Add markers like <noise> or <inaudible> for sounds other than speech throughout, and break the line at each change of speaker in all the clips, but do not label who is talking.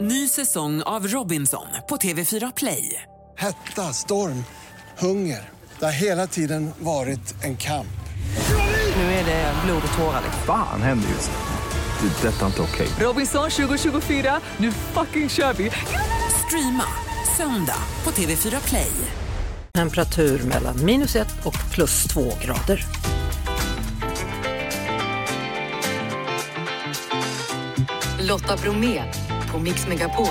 Ny säsong av Robinson på TV4 Play.
Hetta, storm, hunger. Det har hela tiden varit en kamp.
Nu är det blod och tårar.
Fan händer just nu. Det. är Detta är inte okej.
Robinson 2024, nu fucking kör vi! Streama söndag på TV4 Play.
Temperatur mellan minus 1 och plus 2 grader.
Lotta Bromé på Mix Megapol.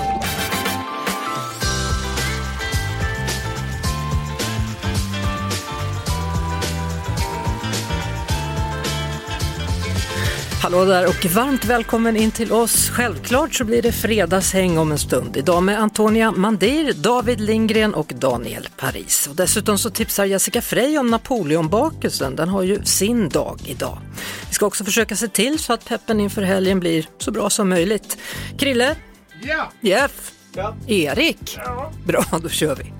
Hallå där och varmt välkommen in till oss. Självklart så blir det fredagshäng om en stund. Idag med Antonia Mandir, David Lindgren och Daniel Paris. Och dessutom så tipsar Jessica Frey om Napoleonbakelsen. Den har ju sin dag idag. Vi ska också försöka se till så att peppen inför helgen blir så bra som möjligt. Krille? Ja? Jeff? Ja. Erik? Ja. Bra, då kör vi.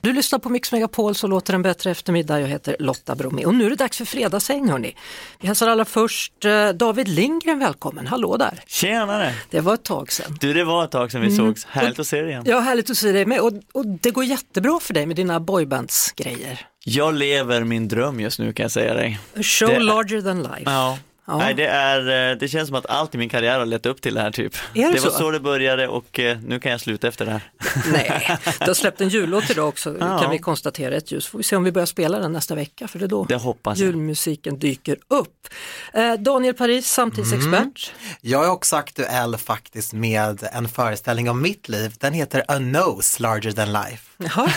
Du lyssnar på Mix Megapol så låter den bättre eftermiddag. Jag heter Lotta Bromé och nu är det dags för fredagshäng hörni. Vi hälsar allra först eh, David Lindgren välkommen, hallå där.
Tjenare!
Det var ett tag sedan.
Du, det var ett tag sedan vi sågs. Härligt att se dig igen.
Mm. Ja, härligt att se dig med och, och det går jättebra för dig med dina boybandsgrejer.
Jag lever min dröm just nu kan jag säga dig.
A show
Det-
larger than life.
Ja.
Ja.
Nej, det, är, eh, det känns som att allt i min karriär har lett upp till det här typ.
Är det
det var
så?
så det började och eh, nu kan jag sluta efter det här.
<laughs> Nej, du har släppt en jullåt idag också
Ja.
kan vi konstatera ett ljus. Får vi se om vi börjar spela den nästa vecka för det är då
Det hoppas jag.
julmusiken dyker upp. Eh, Daniel Paris,
Mm.
samtidsexpert.
Jag är också aktuell faktiskt med en föreställning om mitt liv. Den heter A Nose Larger Than Life.
Jaha.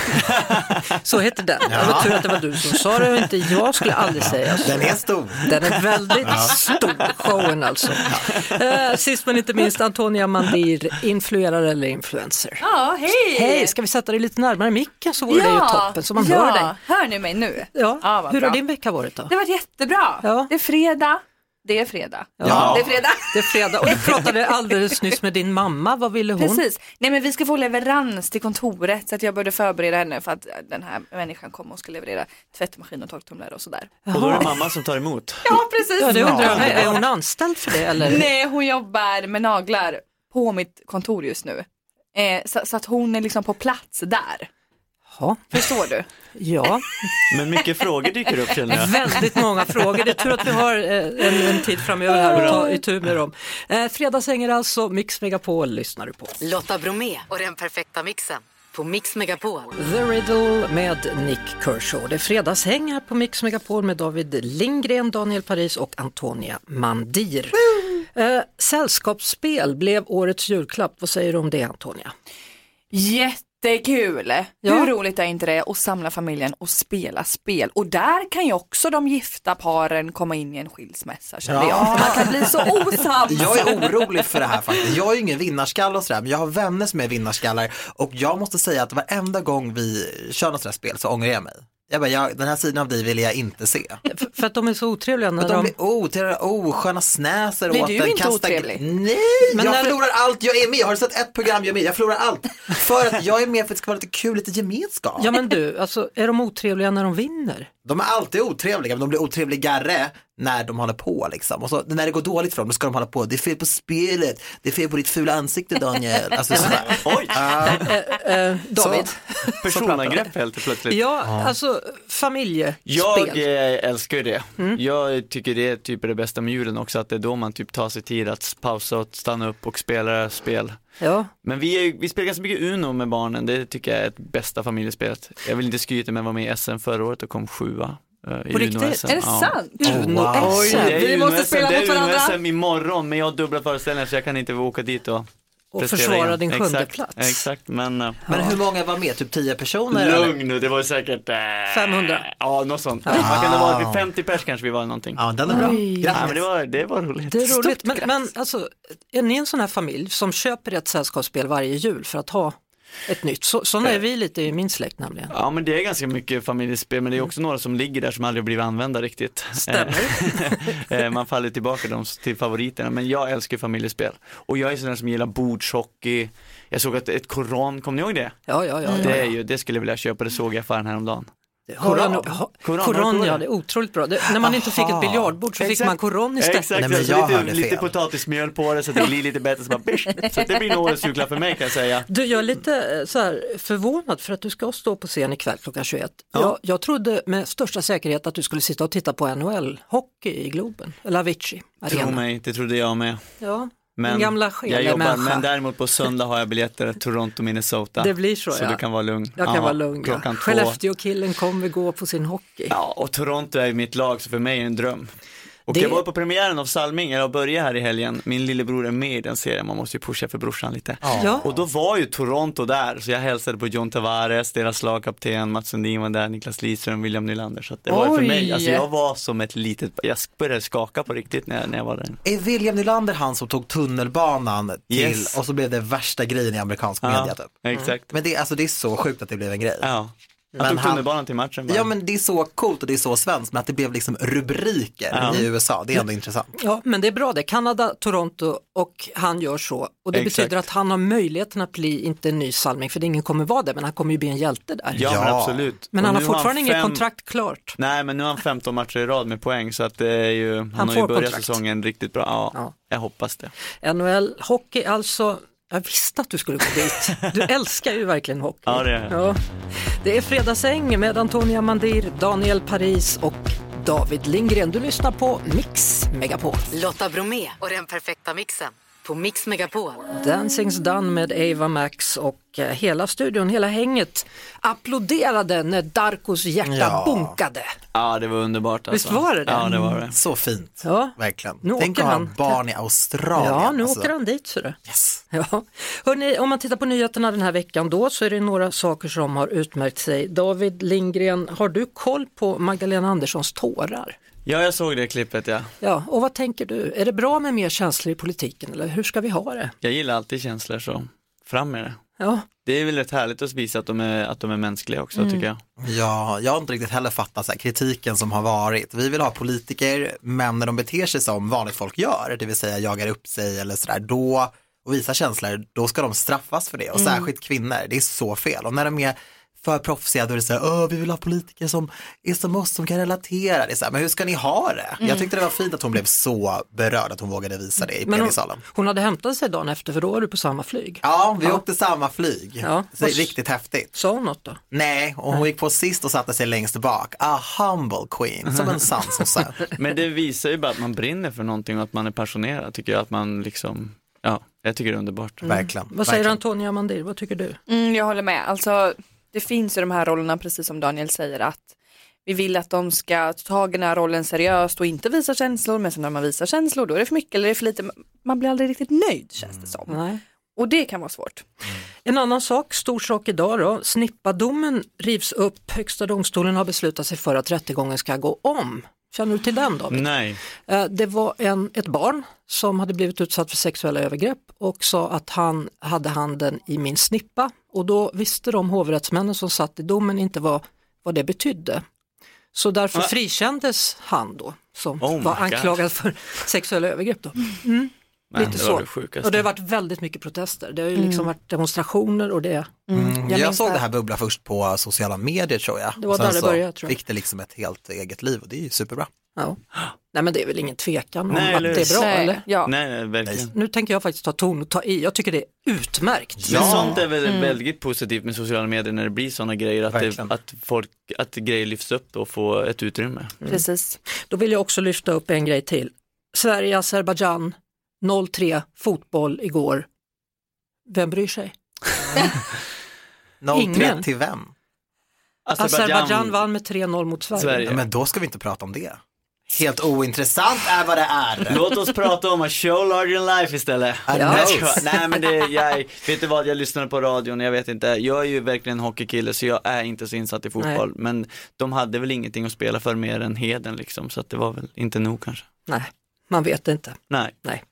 <laughs>
Så heter den. Det var tur att det var du som sa det och inte jag skulle aldrig säga så.
Den är stor.
Den är väldigt stor, showen alltså. Eh, sist men inte minst Antonia Mandir, influerare eller influencer.
Ja, hej!
Hej, ska vi sätta dig lite närmare micken så vore det ju toppen så man
ja.
hör dig.
Hör ni mig nu?
Ja.
vad
Hur
bra.
har din vecka varit då?
Det har varit jättebra.
Ja.
Det är fredag. Det är fredag.
Ja.
Det är fredag.
Det är fredag och du pratade alldeles nyss med din mamma, vad ville hon?
Precis. Nej men vi ska få leverans till kontoret så att jag började förbereda henne för att den här människan kom och ska leverera tvättmaskin och torktumlare och sådär.
Och då är det mamma som tar emot.
Ja precis.
Ja, det undrar jag med. Är hon anställd för det eller?
Nej hon jobbar med naglar på mitt kontor just nu. Eh, så, så att hon är liksom på plats där.
Ja.
Förstår du?
ja.
Men mycket frågor dyker upp
<laughs>
känner jag.
Väldigt många frågor. Det är tur att vi har eh, en, en tid framöver här att ta itu med dem. Eh, Fredagsänger alltså, Mix Megapol lyssnar du på.
Lotta Bromé och den perfekta mixen på Mix Megapol.
The Riddle med Nick Kershaw. Det är fredagshäng här på Mix Megapol med David Lindgren, Daniel Paris och Antonia Mandir. Eh, sällskapsspel blev årets julklapp. Vad säger du om det Antonia?
Jättekul!
Ja.
Hur roligt är inte det att samla familjen och spela spel? Och där kan ju också de gifta paren komma in i en skilsmässa kände
Ja.
jag. Man kan bli så osams!
Jag är orolig för det här faktiskt. Jag är ju ingen vinnarskalle och sådär, men jag har vänner som är vinnarskallar och jag måste säga att varenda gång vi kör något sådant här spel så ångrar jag mig. Jag bara, jag, den här sidan av dig vill jag inte se.
F- för att de är så otrevliga när
Att de blir oh, otrevliga, osköna snäser
Blir
åt
du
den,
inte
kastar-
otrevlig?
Nej,
Men
jag
när du-
förlorar allt, jag är med, har du sett ett program, jag är med, jag förlorar allt. För att jag är med för att det ska vara lite kul, lite gemenskap.
Ja men du, alltså, är de otrevliga när de vinner?
De är alltid otrevliga, men de blir otrevligare när de håller på liksom. Och så när det går dåligt för dem, då ska de hålla på. Det är fel på spelet, det är fel på ditt fula ansikte Daniel. Alltså sådär.
Oj,
David?
personangrepp helt plötsligt.
Ja, alltså familjespel.
Jag eh, älskar ju det.
Mm.
Jag tycker det är typ det bästa med julen också, att det är då man typ tar sig tid att pausa och stanna upp och spela spel.
Ja.
Men vi, är, ju- vi spelar ganska mycket Uno med barnen, det tycker jag är ett bästa familjespelet. Jag vill inte skryta men jag var med i SM förra året och kom sjua. eh, i
På riktigt?
Uno-SM.
Är det
Ja.
sant?
Uno
wow.
SM.
Oj, det är
Vi
Uno
måste
SM,
spela
det är
mot varandra.
Uno-SM imorgon, men jag har dubbla föreställningar så jag kan inte åka dit och
och
prestera
försvara
igen.
din sjunde
exakt,
plats.
Exakt, men eh,
Men hur många var med? Typ 10 personer? eller?
lugn nu, det var säkert eh,
500.
Ja, något sånt. Man kan ha varit 50 pers kanske vi var eller någonting.
Ja, den är bra.
Ja, men
Grattis.
det var, det var roligt.
Det är roligt, men, men alltså, är ni en sån här familj som köper ett sällskapsspel varje jul för att ha ett nytt? Så, såna
Eh.
är vi lite i min släkt nämligen.
Ja men det är ganska mycket familjespel men det är
Mm.
också några som ligger där som aldrig blivit använda riktigt. <laughs> Stämmer. Man faller tillbaka dem till favoriterna men jag älskar familjespel. Och jag är sån där som gillar bordshockey. Jag såg att ett koran, kommer ni ihåg det?
Ja, ja, ja.
Mm. Det, är ju, det skulle jag vilja köpa, det såg jag i affären häromdagen.
Det har jag
Koran.
nog- ha-
Koran, har du
koran,
koran?
ja, det är otroligt bra. Det, när man inte fick ett
Aha.
biljardbord så fick man koran istället.
Exakt,
Nej, men
alltså,
jag hörde
lite, lite
fel.
potatismjöl på det så att det blir lite bättre. Så, bara, bish. så det blir nog årets julklapp för mig kan jag säga.
Du, jag är lite eh, så här, förvånad för att du ska stå på scen ikväll klockan 21. Jag, jag trodde med största säkerhet att du skulle sitta och titta på NHL-hockey i Globen, eller Avicii
Tro
Arena.
mig, det trodde jag med.
Ja,
Men
Din gamla
jag jobbar,
skelemänniska.
men däremot på söndag har jag biljetter Toronto, Minnesota.
Det blir så,
Så
ja.
du kan vara lugn.
jag kan
Ja,
vara lugn. Ja.
Klockan två.
Skellefteå-killen kommer gå på sin hockey.
Ja, och Toronto är ju mitt lag, så för mig är det en dröm. Och
Det-
jag var på premiären av Salming, jag började här i helgen, min lillebror är med i den serien, man måste ju pusha för brorsan lite.
Ja.
Och då var ju Toronto där, så jag hälsade på John Tavares, deras lagkapten, Mats Sundin var där, Niklas Lidström, William Nylander. Så att det var ju för
Oj.
mig, alltså jag var som ett litet, jag började skaka på riktigt när jag, när jag var där.
Är William Nylander han som tog tunnelbanan till
Yes.
och så blev det värsta grejen i amerikansk media typ?
exakt.
Men det, alltså, det är så sjukt att det blev en grej.
Ja. Han
Men
tog
han-
tunnelbanan till matchen bara.
Ja men det är så coolt och det är så svenskt men att det blev liksom rubriker
Ja.
i USA, det är ändå intressant.
Ja, men det är bra det. Kanada, Toronto och han gör så. Och det
Exakt.
betyder att han har möjligheten att bli, inte en ny Salming, för det ingen kommer vara det, men han kommer ju bli en hjälte där.
ja, men
Ja.
absolut.
Men
Och
han har
nu
fortfarande inget
fem-
kontrakt klart.
Nej men nu har han 15 matcher i rad med poäng så att det är ju, han, har ju
får
börjat
kontrakt.
säsongen riktigt bra. Ja,
Ja.
jag hoppas det.
NHL, hockey alltså. Jag visste att du skulle gå dit.
<laughs>
Du älskar ju verkligen hockey.
Ja, det gör jag.
Ja. Det är Fredagsäng med Antonia Mandir, Daniel Paris och David Lindgren. Du lyssnar på Mix Megapol.
Lotta Bromé och den perfekta mixen på Mix Megapol.
Dancing's Done med Ava Max och eh, hela studion, hela hänget applåderade när Darkos hjärta
Ja.
bunkade.
Ja det var underbart alltså.
Visst var det det?
Ja det var det.
Så fint,
Ja.
verkligen.
Nu
Tänk
åker
att ha
han.
barn i Australien.
Ja, nu
alltså.
åker han dit ser du.
Yes.
Ja. Hörrni, om man tittar på nyheterna den här veckan då så är det några saker som har utmärkt sig. David Lindgren, har du koll på Magdalena Anderssons tårar?
Ja jag såg det klippet ja.
Ja, och vad tänker du? Är det bra med mer känslor i politiken eller hur ska vi ha det?
Jag gillar alltid känslor så fram med det.
Ja,
Det är väl rätt härligt att visa att de är, att de är mänskliga också
Mm.
tycker jag.
Ja, jag har inte riktigt heller fattat så här, kritiken som har varit. Vi vill ha politiker, men när de beter sig som vanligt folk gör, det vill säga jagar upp sig eller sådär, då, och visar känslor, då ska de straffas för det.
Mm.
Och särskilt kvinnor, det är så fel. Och när de är för proffsiga då är det så här, "Åh, vi vill ha politiker som är som oss, som kan relatera. Det är så här, men hur ska ni ha det? Jag tyckte det var fint att hon blev så berörd att hon vågade visa det i
Mm. men hon,
plenisalen.
hon hade hämtat sig dagen efter för då var du på samma flyg.
Ja, vi åkte samma flyg.
Ja.
Så det är riktigt häftigt.
Sa hon något då?
Nej, och hon gick på sist och satte sig längst bak. A humble queen, som en sann
<laughs>
sosse.
Mm.
Men det visar ju bara att man brinner för någonting och att man är passionerad tycker jag. Att man liksom, ja jag tycker det är underbart.
Mm.
Verkligen.
Vad säger
verkligen.
Antonia Mandir, vad tycker du?
Mm, jag håller med. Alltså, det finns ju de här rollerna, precis som Daniel säger, att vi vill att de ska ta tag i den här rollen seriöst och inte visa känslor, men sen när man visar känslor då är det för mycket eller det är för lite. Man blir aldrig riktigt nöjd känns det som.
Nej.
Och det kan vara svårt.
En annan sak, stor sak idag då, snippadomen rivs upp. Högsta domstolen har beslutat sig för att rättegången ska gå om. Känner du till den David?
Nej,
Eh, Det var en, ett barn som hade blivit utsatt för sexuella övergrepp och sa att han hade handen i min snippa och då visste de hovrättsmännen som satt i domen inte vad, vad det betydde. Så därför
Va?
frikändes han då som
Ah. Oh my
var
God.
anklagad för sexuella övergrepp. Då.
Nej
Lite
det
så.
var det sjukaste. Mm.
Och det har varit väldigt mycket protester. Det har ju liksom varit demonstrationer och det.
Mm,
Jag
jag
minns
såg
det.
det här bubbla först på sociala medier tror jag.
Det var
Och sen
där det
så
började, tror jag.
fick det liksom ett helt eget liv och det är ju superbra.
Ja. <gasps> Nej men det är väl ingen tvekan om
Nej,
att
eller
det är bra
Nej,
eller?
Ja.
Nej, nej verkligen.
Nu tänker jag faktiskt ta ton och ta i. Jag tycker det är utmärkt.
Men sånt är väl
Mm.
väldigt positivt med sociala medier när det blir sådana grejer, att, det,
Verkligen.
att, folk, att grejer lyfts upp och får ett utrymme.
Precis.
Då vill jag också lyfta upp en grej till. Sverige, Azerbajdzjan, 0-3, fotboll igår. Vem bryr sig?
03
Ingen.
till vem?
Azerbajdzjan vann med 3-0 mot Sverige.
Sverige.
Ja, men då ska vi inte prata om det. Helt ointressant är vad det är.
Låt oss prata om a show larger than life istället.
Ja.
Nej, jag skojar. Nej men det, jag, vet du vad, jag lyssnade på radion, jag vet inte, jag är ju verkligen en hockeykille så jag är inte så insatt i fotboll. Men de hade väl ingenting att spela för mer än heden liksom, så att det var väl inte nog kanske.
Nej, man vet inte.
Nej.
Nej.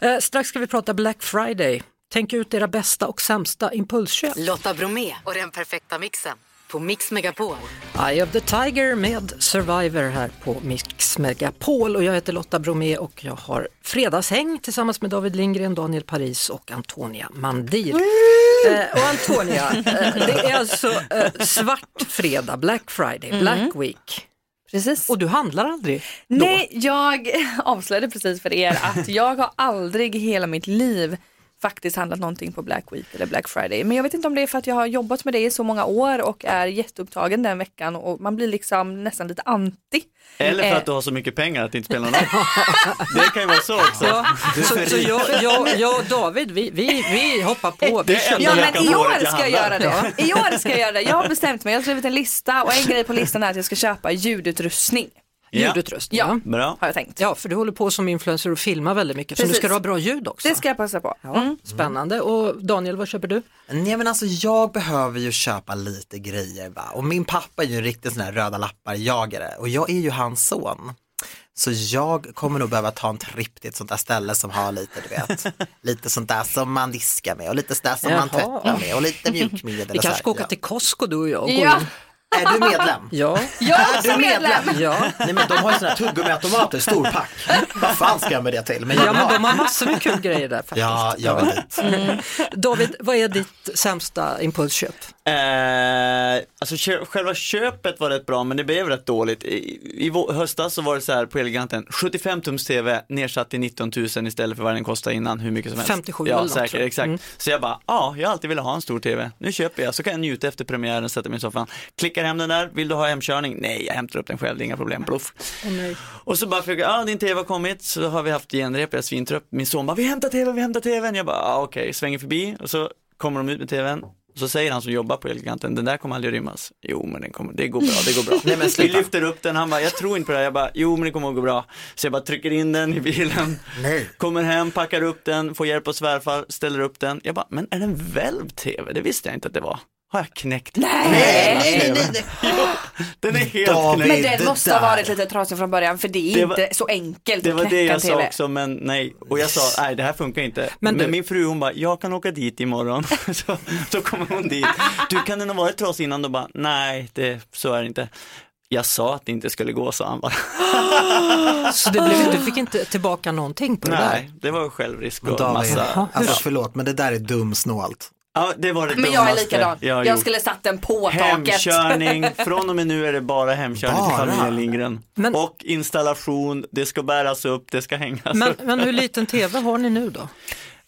Eh, strax ska vi prata Black Friday. Tänk ut era bästa och sämsta impulsköp.
Lotta Bromé och den perfekta mixen på Mix Megapol.
Eye of the Tiger med Survivor här på Mix Megapol och jag heter Lotta Bromé och jag har fredagshäng tillsammans med David Lindgren, Daniel Paris och Antonia Mandir. Eh, och Antonia, eh, det är alltså eh, svart fredag, Black Friday, Black Week
Precis.
och du handlar aldrig då?
Nej, jag <laughs> avslöjade precis för er att jag har aldrig i hela mitt liv faktiskt handlat någonting på Black Week eller Black Friday. Men jag vet inte om det är för att jag har jobbat med det i så många år och är jätteupptagen den veckan och man blir liksom nästan lite anti.
Eller för
Eh.
att du har så mycket pengar att det inte spelar någon roll.
<laughs>
Det kan ju vara så också.
Ja, så, så jag, jag, jag och David, vi, vi, vi hoppar på. Vi
Det är
kör.
Eh, Ja
Jag
men
kan
i
på året
år
jag
ska jag göra
handlar.
det. I år ska jag göra det. Jag har bestämt mig, jag har skrivit en lista och en grej på listan är att jag ska köpa ljudutrustning.
Ja.
Ljudutrustning.
Ja,
va?
Bra.
har jag tänkt.
Ja, för du håller på som influencer och filmar väldigt mycket, så nu
Precis.
ska du ha bra ljud också.
Det ska jag passa på. Mm.
Ja, Spännande. Och Daniel, vad köper du?
Nej men alltså jag behöver ju köpa lite grejer va. Och min pappa är ju en riktig sån här röda lappar-jagare och jag är ju hans son. Så jag kommer nog behöva ta en tripp till ett sånt där ställe som har lite, du <laughs> vet, lite sånt där som man diskar med och lite sånt där som man
Jaha.
tvättar med och lite mjukmedel.
Vi
och så
kanske
här.
ska åka till Costco du och jag och gå
Ja.
in.
Ja. Är du medlem?
<laughs> Ja,
Jag <laughs> är också medlem.
ja.
<laughs> Nej men de har ju såna här tuggummiautomater, storpack. Vad fan ska jag med det till? Men
Ja, men
har-
de har massor med kul grejer där faktiskt.
Ja, jag vill dit.
David, vad är ditt sämsta impulsköp?
Eh, alltså kö- själva köpet var rätt bra men det blev rätt dåligt. I, i vå- höstas så var det så här på Eleganten, 75 tums TV nedsatt till 19 000 istället för vad den kostade innan, hur mycket som helst.
57 eller
Ja,
något, tror
säkert,
jag. Mm.
exakt. Så jag bara, ja, jag har alltid velat ha en stor TV. Nu köper jag, så kan jag njuta efter premiären, sätta mig i soffan. Klickar hem den där, vill du ha hemkörning? Nej, jag hämtar upp den själv, det är inga problem, bluff. Och så bara fick jag, ja din tv har kommit, så har vi haft genrep, jag är svintrött. Min son bara, vi hämtar tvn, vi hämtar tvn. Jag bara, ah, okej, svänger förbi och så kommer de ut med tvn. Och så säger han som jobbar på Elgiganten, den där kommer aldrig rymmas. Jo men den kommer, det går bra, det går bra.
Nej, men
vi
sluta.
lyfter upp den, han bara, jag tror inte på det här. Jag bara, jo men det kommer att gå bra. Så jag bara trycker in den i bilen.
Nej.
Kommer hem, packar upp den, får hjälp av svärfar, ställer upp den. Jag bara, men är det en välvd tv? Det visste jag inte att det var. Har jag knäckt?
Nej.
Nej, nej, nej.
<laughs> Den är helt
David.
knäckt.
Men
Det
den måste ha
där.
varit lite trasig från början för det är
Det var-
inte så enkelt
Det
att
var
knäcka
det
en
jag
TV.
sa också men nej, och jag sa nej det här funkar inte.
Men
Men,
du-
min fru hon bara, jag kan åka dit imorgon. <laughs> så, så kommer hon dit. Du kan den ha varit trasig innan? Då bara, nej det, så är det inte. Jag sa att det inte skulle gå sa han bara. <laughs>
Så det blev, du fick inte tillbaka någonting på det där?
Nej, det var självrisk
Men
och
David,
massa.
alltså förlåt men det där är dumsnålt.
Ja, det var det
Men jag är
dummaste
likadan.
jag har
Jag,
gjort.
skulle satt den på taket.
<laughs>
<laughs>
Hemkörning, från och med nu är det bara hemkörning
Bara?
till familjen Lindgren.
Men-
Och installation, det ska bäras upp, det ska hängas
Men,
upp.
men hur liten tv har ni nu då?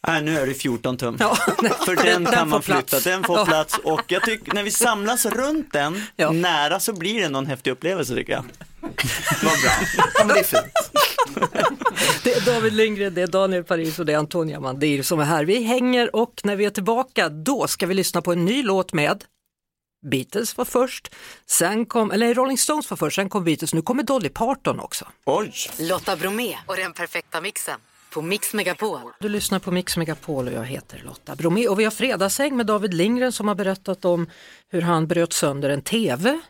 Nej, nu är det 14 tum.
Ja.
<laughs> För den
Den
kan man
får
flytta,
plats.
den
Ja.
får plats och jag tycker när vi samlas runt den
Ja.
nära så blir det någon häftig upplevelse tycker jag.
<laughs> Vad bra. Ja, men det är fint.
Det är David Lindgren, det är Daniel Paris och det är Antonia Mandir som är här. Vi hänger och när vi är tillbaka då ska vi lyssna på en ny låt med Beatles var först, sen kom, eller Rolling Stones var först, sen kom Beatles, nu kommer Dolly Parton också.
Oj!
Lotta Bromé och den perfekta mixen på Mix Megapol.
Du lyssnar på Mix Megapol och jag heter Lotta Bromé och vi har fredagshäng med David Lindgren som har berättat om hur han bröt sönder en TV.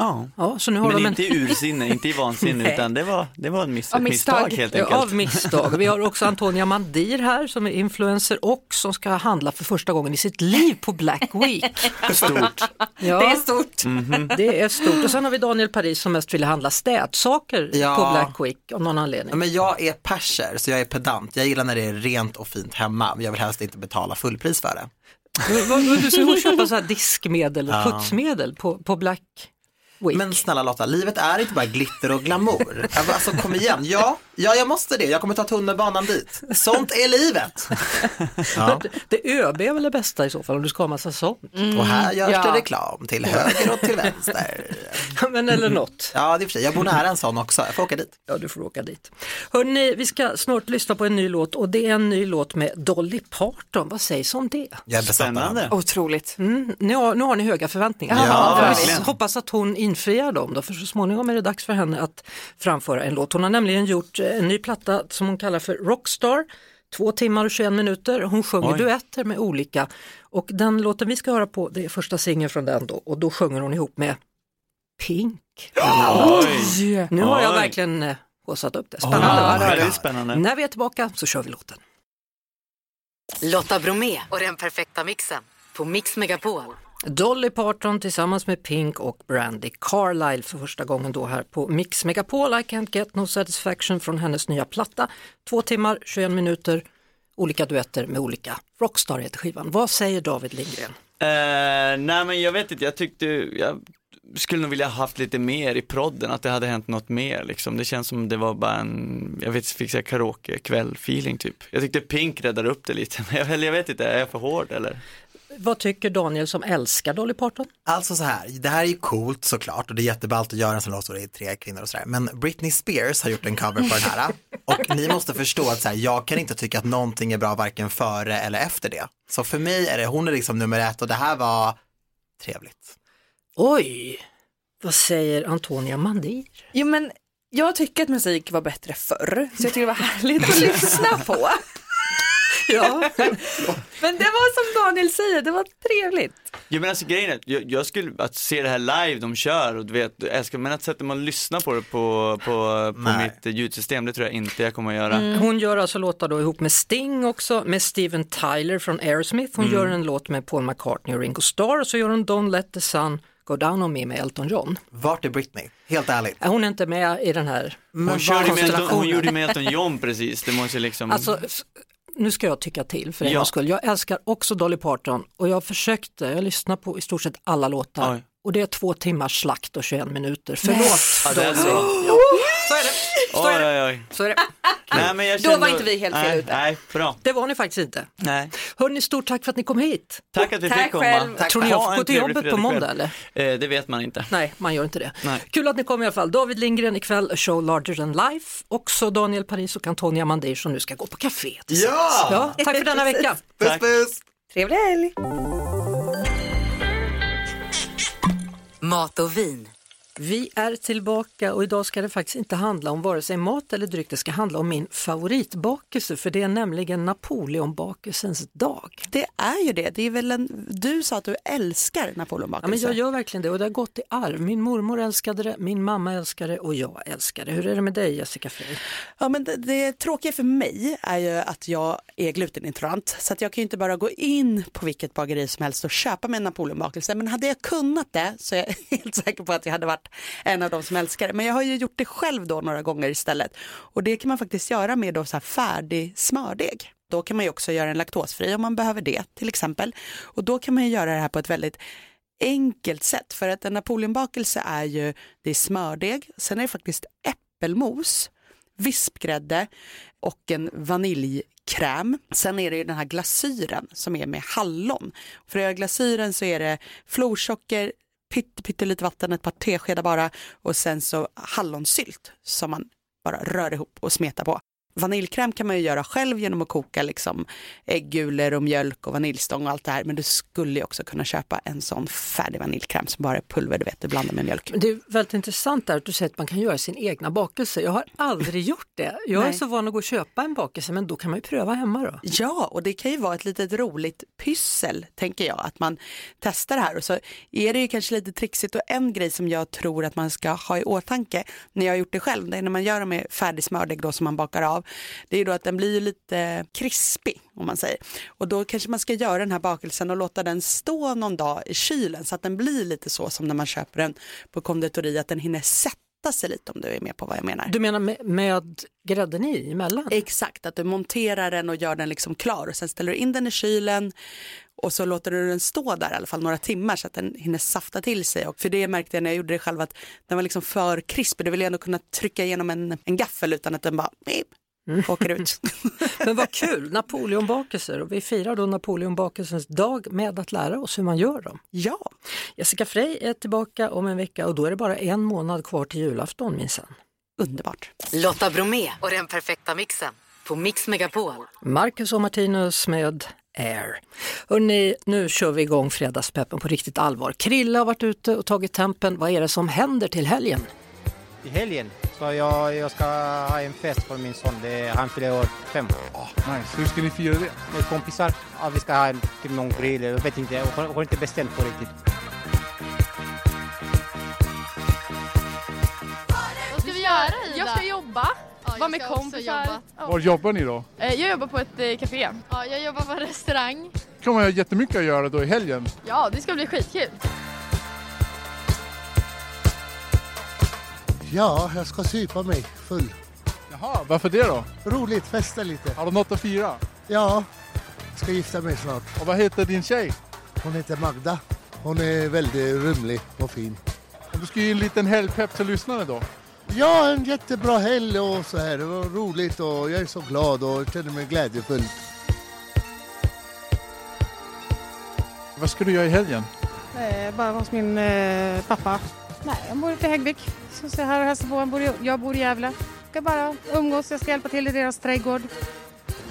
Ja.
Ja, så nu har
Men
de en <laughs>
inte i ursinne, inte i vansinne utan det var, det var en miss,
Av
ett misstag.
misstag.
helt
Ja, Av
enkelt.
misstag. Vi har också Antonia Mandir här som är influencer och som ska handla för första gången i sitt liv på Black
<laughs>
Week.
Stort. Mhm.
Ja,
Det är stort.
det är stort. Och sen har vi Daniel Paris som mest ville handla städsaker
Ja.
på Black Week av någon
Ja,
anledning.
Men jag är perser så jag är pedant. Jag gillar när det är rent och fint hemma. men Jag vill helst inte betala fullpris för det.
Vad- vad- Du skulle köpa så här diskmedel och putsmedel på, på Black Week.
Men snälla Lotta, livet är inte bara glitter och glamour. Alltså kom igen, ja, ja jag måste det. Jag kommer ta tunnelbanan dit. Sånt är livet. Ja.
Det ÖB är väl det bästa i så fall om du ska ha massa sånt.
Och här görs
ja.
det reklam till höger och till vänster.
<laughs> Men eller något.
Ja, det är för sig. Jag bor nära en sån också. Jag får åka dit.
Ja, du får åka dit. Hörrni, vi ska snart lyssna på en ny låt och det är en ny låt med Dolly Parton. Vad sägs om det?
Jag är besatt av henne.
Spännande.
Otroligt.
Mm, Nu har, nu har ni höga förväntningar.
Ja,
Vi
verkligen.
hoppas att hon infriar dem då, för så småningom är det dags för henne att framföra en låt. Hon har nämligen gjort eh, en ny platta som hon kallar för Rockstar, två timmar och 21 minuter. Hon sjunger
Oj.
duetter med olika och den låten vi ska höra på, det är första singeln från den då och då sjunger hon ihop med Pink.
Oj!
Nu har jag
Oj.
verkligen eh, haussat upp det. Spännande.
Ja,
va?
väldigt spännande.
När vi är tillbaka så kör vi låten.
Lotta Bromé och den perfekta mixen på Mix Megapol.
Dolly Parton tillsammans med Pink och Brandy Carlile för första gången då här på Mix Megapol. I can't get no satisfaction från hennes nya platta. Två timmar, 21 minuter, olika duetter med olika rockstar heter skivan. Vad säger David Lindgren?
Eh, nej men jag vet inte, jag tyckte, jag skulle nog vilja haft lite mer i prodden, att det hade hänt något mer liksom. Det känns som det var bara en, jag vet inte, fick säga karaoke-kväll-feeling typ. Jag tyckte Pink räddade upp det lite, <laughs> men jag, eller jag vet inte, är jag för hård eller?
Vad tycker Daniel som älskar Dolly Parton?
Alltså så här, det här är ju coolt såklart och det är jätteballt att göra en sån låt och det är tre kvinnor och sådär. Men Britney Spears har gjort en cover på den här och ni måste förstå att så här, jag kan inte tycka att någonting är bra varken före eller efter det. Så för mig är det, hon är liksom nummer ett och det här var trevligt.
Oj, vad säger Antonia Mandir?
Jo men jag tycker att musik var bättre förr, så jag tycker det var härligt att lyssna på.
Ja.
<laughs> Men det var som Daniel säger, det var trevligt.
Jag menar alltså grejen är, jag, jag skulle, att se det här live de kör och du vet, jag älskar, men att sätta mig och lyssna på det på, på, på
Nej.
mitt ljudsystem, det tror jag inte jag kommer att göra.
Hon gör alltså låtar då ihop med Sting också, med Steven Tyler från Aerosmith. Hon gör en låt med Paul McCartney och Ringo Starr och så gör hon Don't Let The Sun Go Down On Me med Elton John.
Vart är Britney? Helt ärligt.
Äh, Hon är inte med i den här
Hon, körde med Elton, hon
konstellationen.
gjorde med Elton John precis, det måste liksom
Alltså, s- nu ska jag tycka till för en
Ja.
gångs skull. Jag älskar också Dolly Parton och jag försökte, jag lyssnade på i stort sett alla låtar
Oj.
och det är två timmars slakt och 21 minuter. Förlåt
Ja, det är
Dolly.
så.
Så är det. Så är
Oj,
det.
oj, oj.
Så är det.
Nej, men jag
Då
kände-
var inte vi helt fel
nej,
ute.
Nej, bra.
det var ni faktiskt inte.
Nej.
Hörni, stort tack för att ni kom hit.
Tack att vi
Tack
fick komma.
själv.
Tack.
Tror ni jag
Ha
får gå
en
till
trevlig
jobbet på
fredagkväll.
måndag eller?
Eh, det vet man inte.
Nej, man gör inte det.
Nej.
Kul att ni kom i alla fall. David Lindgren ikväll, show larger than life. Också Daniel Paris och Antonia Mandir som nu ska gå på café.
Ja!
Ja, tack för denna vecka.
Puss puss!
Trevlig helg.
Mat och vin.
Vi är tillbaka och idag ska det faktiskt inte handla om vare sig mat eller dryck. Det ska handla om min favoritbakelse för det är nämligen Napoleonbakelsens dag.
Det är ju det. det är väl en, du sa att du älskar
Ja, men
napoleonbakelse.
jag gör verkligen det och det har gått i arv. Min mormor älskade det, min mamma älskade det och jag älskar det. Hur är det med dig Jessica Frey?
ja, men det, det tråkiga för mig är ju att jag är glutenintolerant så att jag kan ju inte bara gå in på vilket bageri som helst och köpa mig en napoleonbakelse. Men hade jag kunnat det så är jag <laughs> helt säker på att jag hade varit en av de som älskar det. Men jag har ju gjort det själv då några gånger istället och det kan man faktiskt göra med då så här färdig smördeg. Då kan man ju också göra en laktosfri om man behöver det till exempel. Och då kan man ju göra det här på ett väldigt enkelt sätt. För att en napoleonbakelse är ju, det är smördeg, sen är det faktiskt äppelmos, vispgrädde och en vaniljkräm. Sen är det ju den här glasyren som är med hallon. För att göra glasyren så är det florsocker, pytte, pyttelite vatten, ett par teskedar bara och sen så hallonsylt som man bara rör ihop och smetar på. Vaniljkräm kan man ju göra själv genom att koka liksom äggulor och mjölk och vaniljstång och allt det här. Men du skulle ju också kunna köpa en sån färdig vaniljkräm som bara är pulver, du vet, du blandar med mjölk.
Det är väldigt intressant där att du säger att man kan göra sin egna bakelse. Jag har aldrig gjort det. Jag är
Nej.
så van att gå och köpa en bakelse men då kan man ju pröva hemma då.
Ja, och det kan ju vara ett litet roligt pyssel, tänker jag, att man testar det här. Och så är det ju kanske lite trixigt och en grej som jag tror att man ska ha i åtanke när jag har gjort det själv, det är när man gör dem med färdig smördeg då som man bakar av, det är ju då att den blir ju lite krispig om man säger. Och då kanske man ska göra den här bakelsen och låta den stå någon dag i kylen så att den blir lite så som när man köper den på konditori, att den hinner sätta sig lite om du är med på vad jag menar.
Du menar med, med grädden i emellan?
Exakt, att du monterar den och gör den liksom klar och sen ställer du in den i kylen och så låter du den stå där i alla fall några timmar så att den hinner safta till sig. Och för det märkte jag när jag gjorde det själv att den var liksom för krispig. Du vill ju ändå kunna trycka igenom en, en gaffel utan att den bara beep, åker ut.
Men vad kul, Napoleonbakelser och vi firar då Napoleonbakelsens dag med att lära oss hur man gör dem.
ja,
Jessica Frey är tillbaka om en vecka och då är det bara en månad kvar till julafton minsann.
underbart.
Lotta Bromé och den perfekta mixen på Mix Megapol.
Marcus och Martinus med Air. Hörrni, nu kör vi igång Fredagspeppen på riktigt allvar. Krilla har varit ute och tagit tempen. Vad är det som händer till helgen?
i helgen. Så jag, jag ska ha en fest för min son. Det, är- han fyller år fem.
Nice. Hur ska ni fira det?
Med kompisar. Ja, vi ska ha en, typ någon grill. Jag vet inte. Jag har, har inte bestämt på riktigt.
Vad ska vi göra Ida? Jag ska jobba. Ja,
Vara med kompisar.
Var jobbar ni då?
Eh, Jag jobbar på ett eh, café. Ja, jag jobbar på en restaurang.
kommer jag ha jättemycket att göra då i helgen.
Ja, det ska bli skitkul.
Ja, jag ska supa mig full.
Jaha, varför det då?
Roligt, festa lite.
Har du något att fira?
Ja, jag ska gifta mig snart.
Och vad heter din tjej?
Hon heter Magda. Hon är väldigt rymlig och fin.
Om du ska ge en liten helgpepp till lyssnarna då?
Ja, en jättebra helg och så här. Det var roligt och jag är så glad och känner mig glädjefull.
Vad ska du göra i helgen?
Eh, Bara hos min eh, pappa. Nej, han bor uppe i Häggvik. Så ser jag här och hälsar på. Han bor i, jag bor i Gävle. Ska bara umgås. Jag ska hjälpa till i deras trädgård.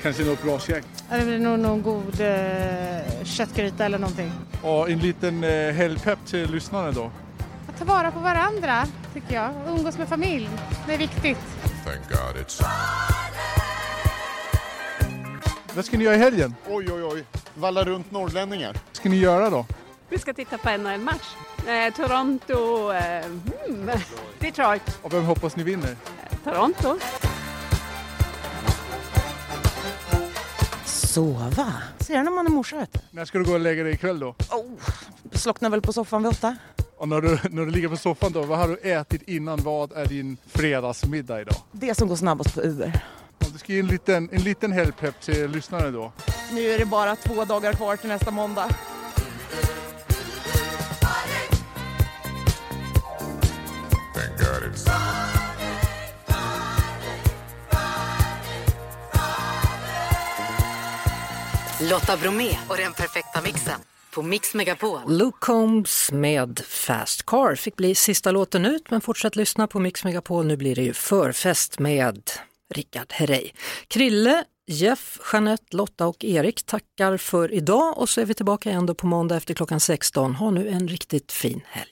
Kanske något brasgäng.
Ja, Det blir nog någon god eh, köttgryta eller någonting.
Och en liten eh, helgpepp till lyssnarna då?
Att ta vara på varandra, tycker jag. Umgås med familj. Det är viktigt.
Thank God it's
Vad ska ni göra i helgen?
Oj, oj, oj. Valla runt norrlänningar.
Vad ska ni göra då?
Vi ska titta på NHL-match. Eh, Toronto... Eh, hmm, Detroit.
Och vem hoppas ni vinner?
Toronto.
Sova. Ser jag när man är morsa vet du.
När ska du gå och lägga dig ikväll då?
Slocknar väl på soffan vid åtta.
Och när du, när du ligger på soffan då, vad har du ätit innan? Vad är din fredagsmiddag idag?
Det som går snabbast på Uber.
Om du ska ge en liten, en liten helgpepp till lyssnarna då?
Nu är det bara två dagar kvar till nästa måndag.
Thank God it's
Lotta Bromé och den perfekta mixen på Mix Megapol.
Luke Combs med Fast Car fick bli sista låten ut men fortsätt lyssna på Mix Megapol. Nu blir det ju förfest med Rickard Herrey. Krille, Jeff, Jeanette, Lotta och Erik tackar för idag och så är vi tillbaka igen då på måndag efter klockan 16. Ha nu en riktigt fin helg.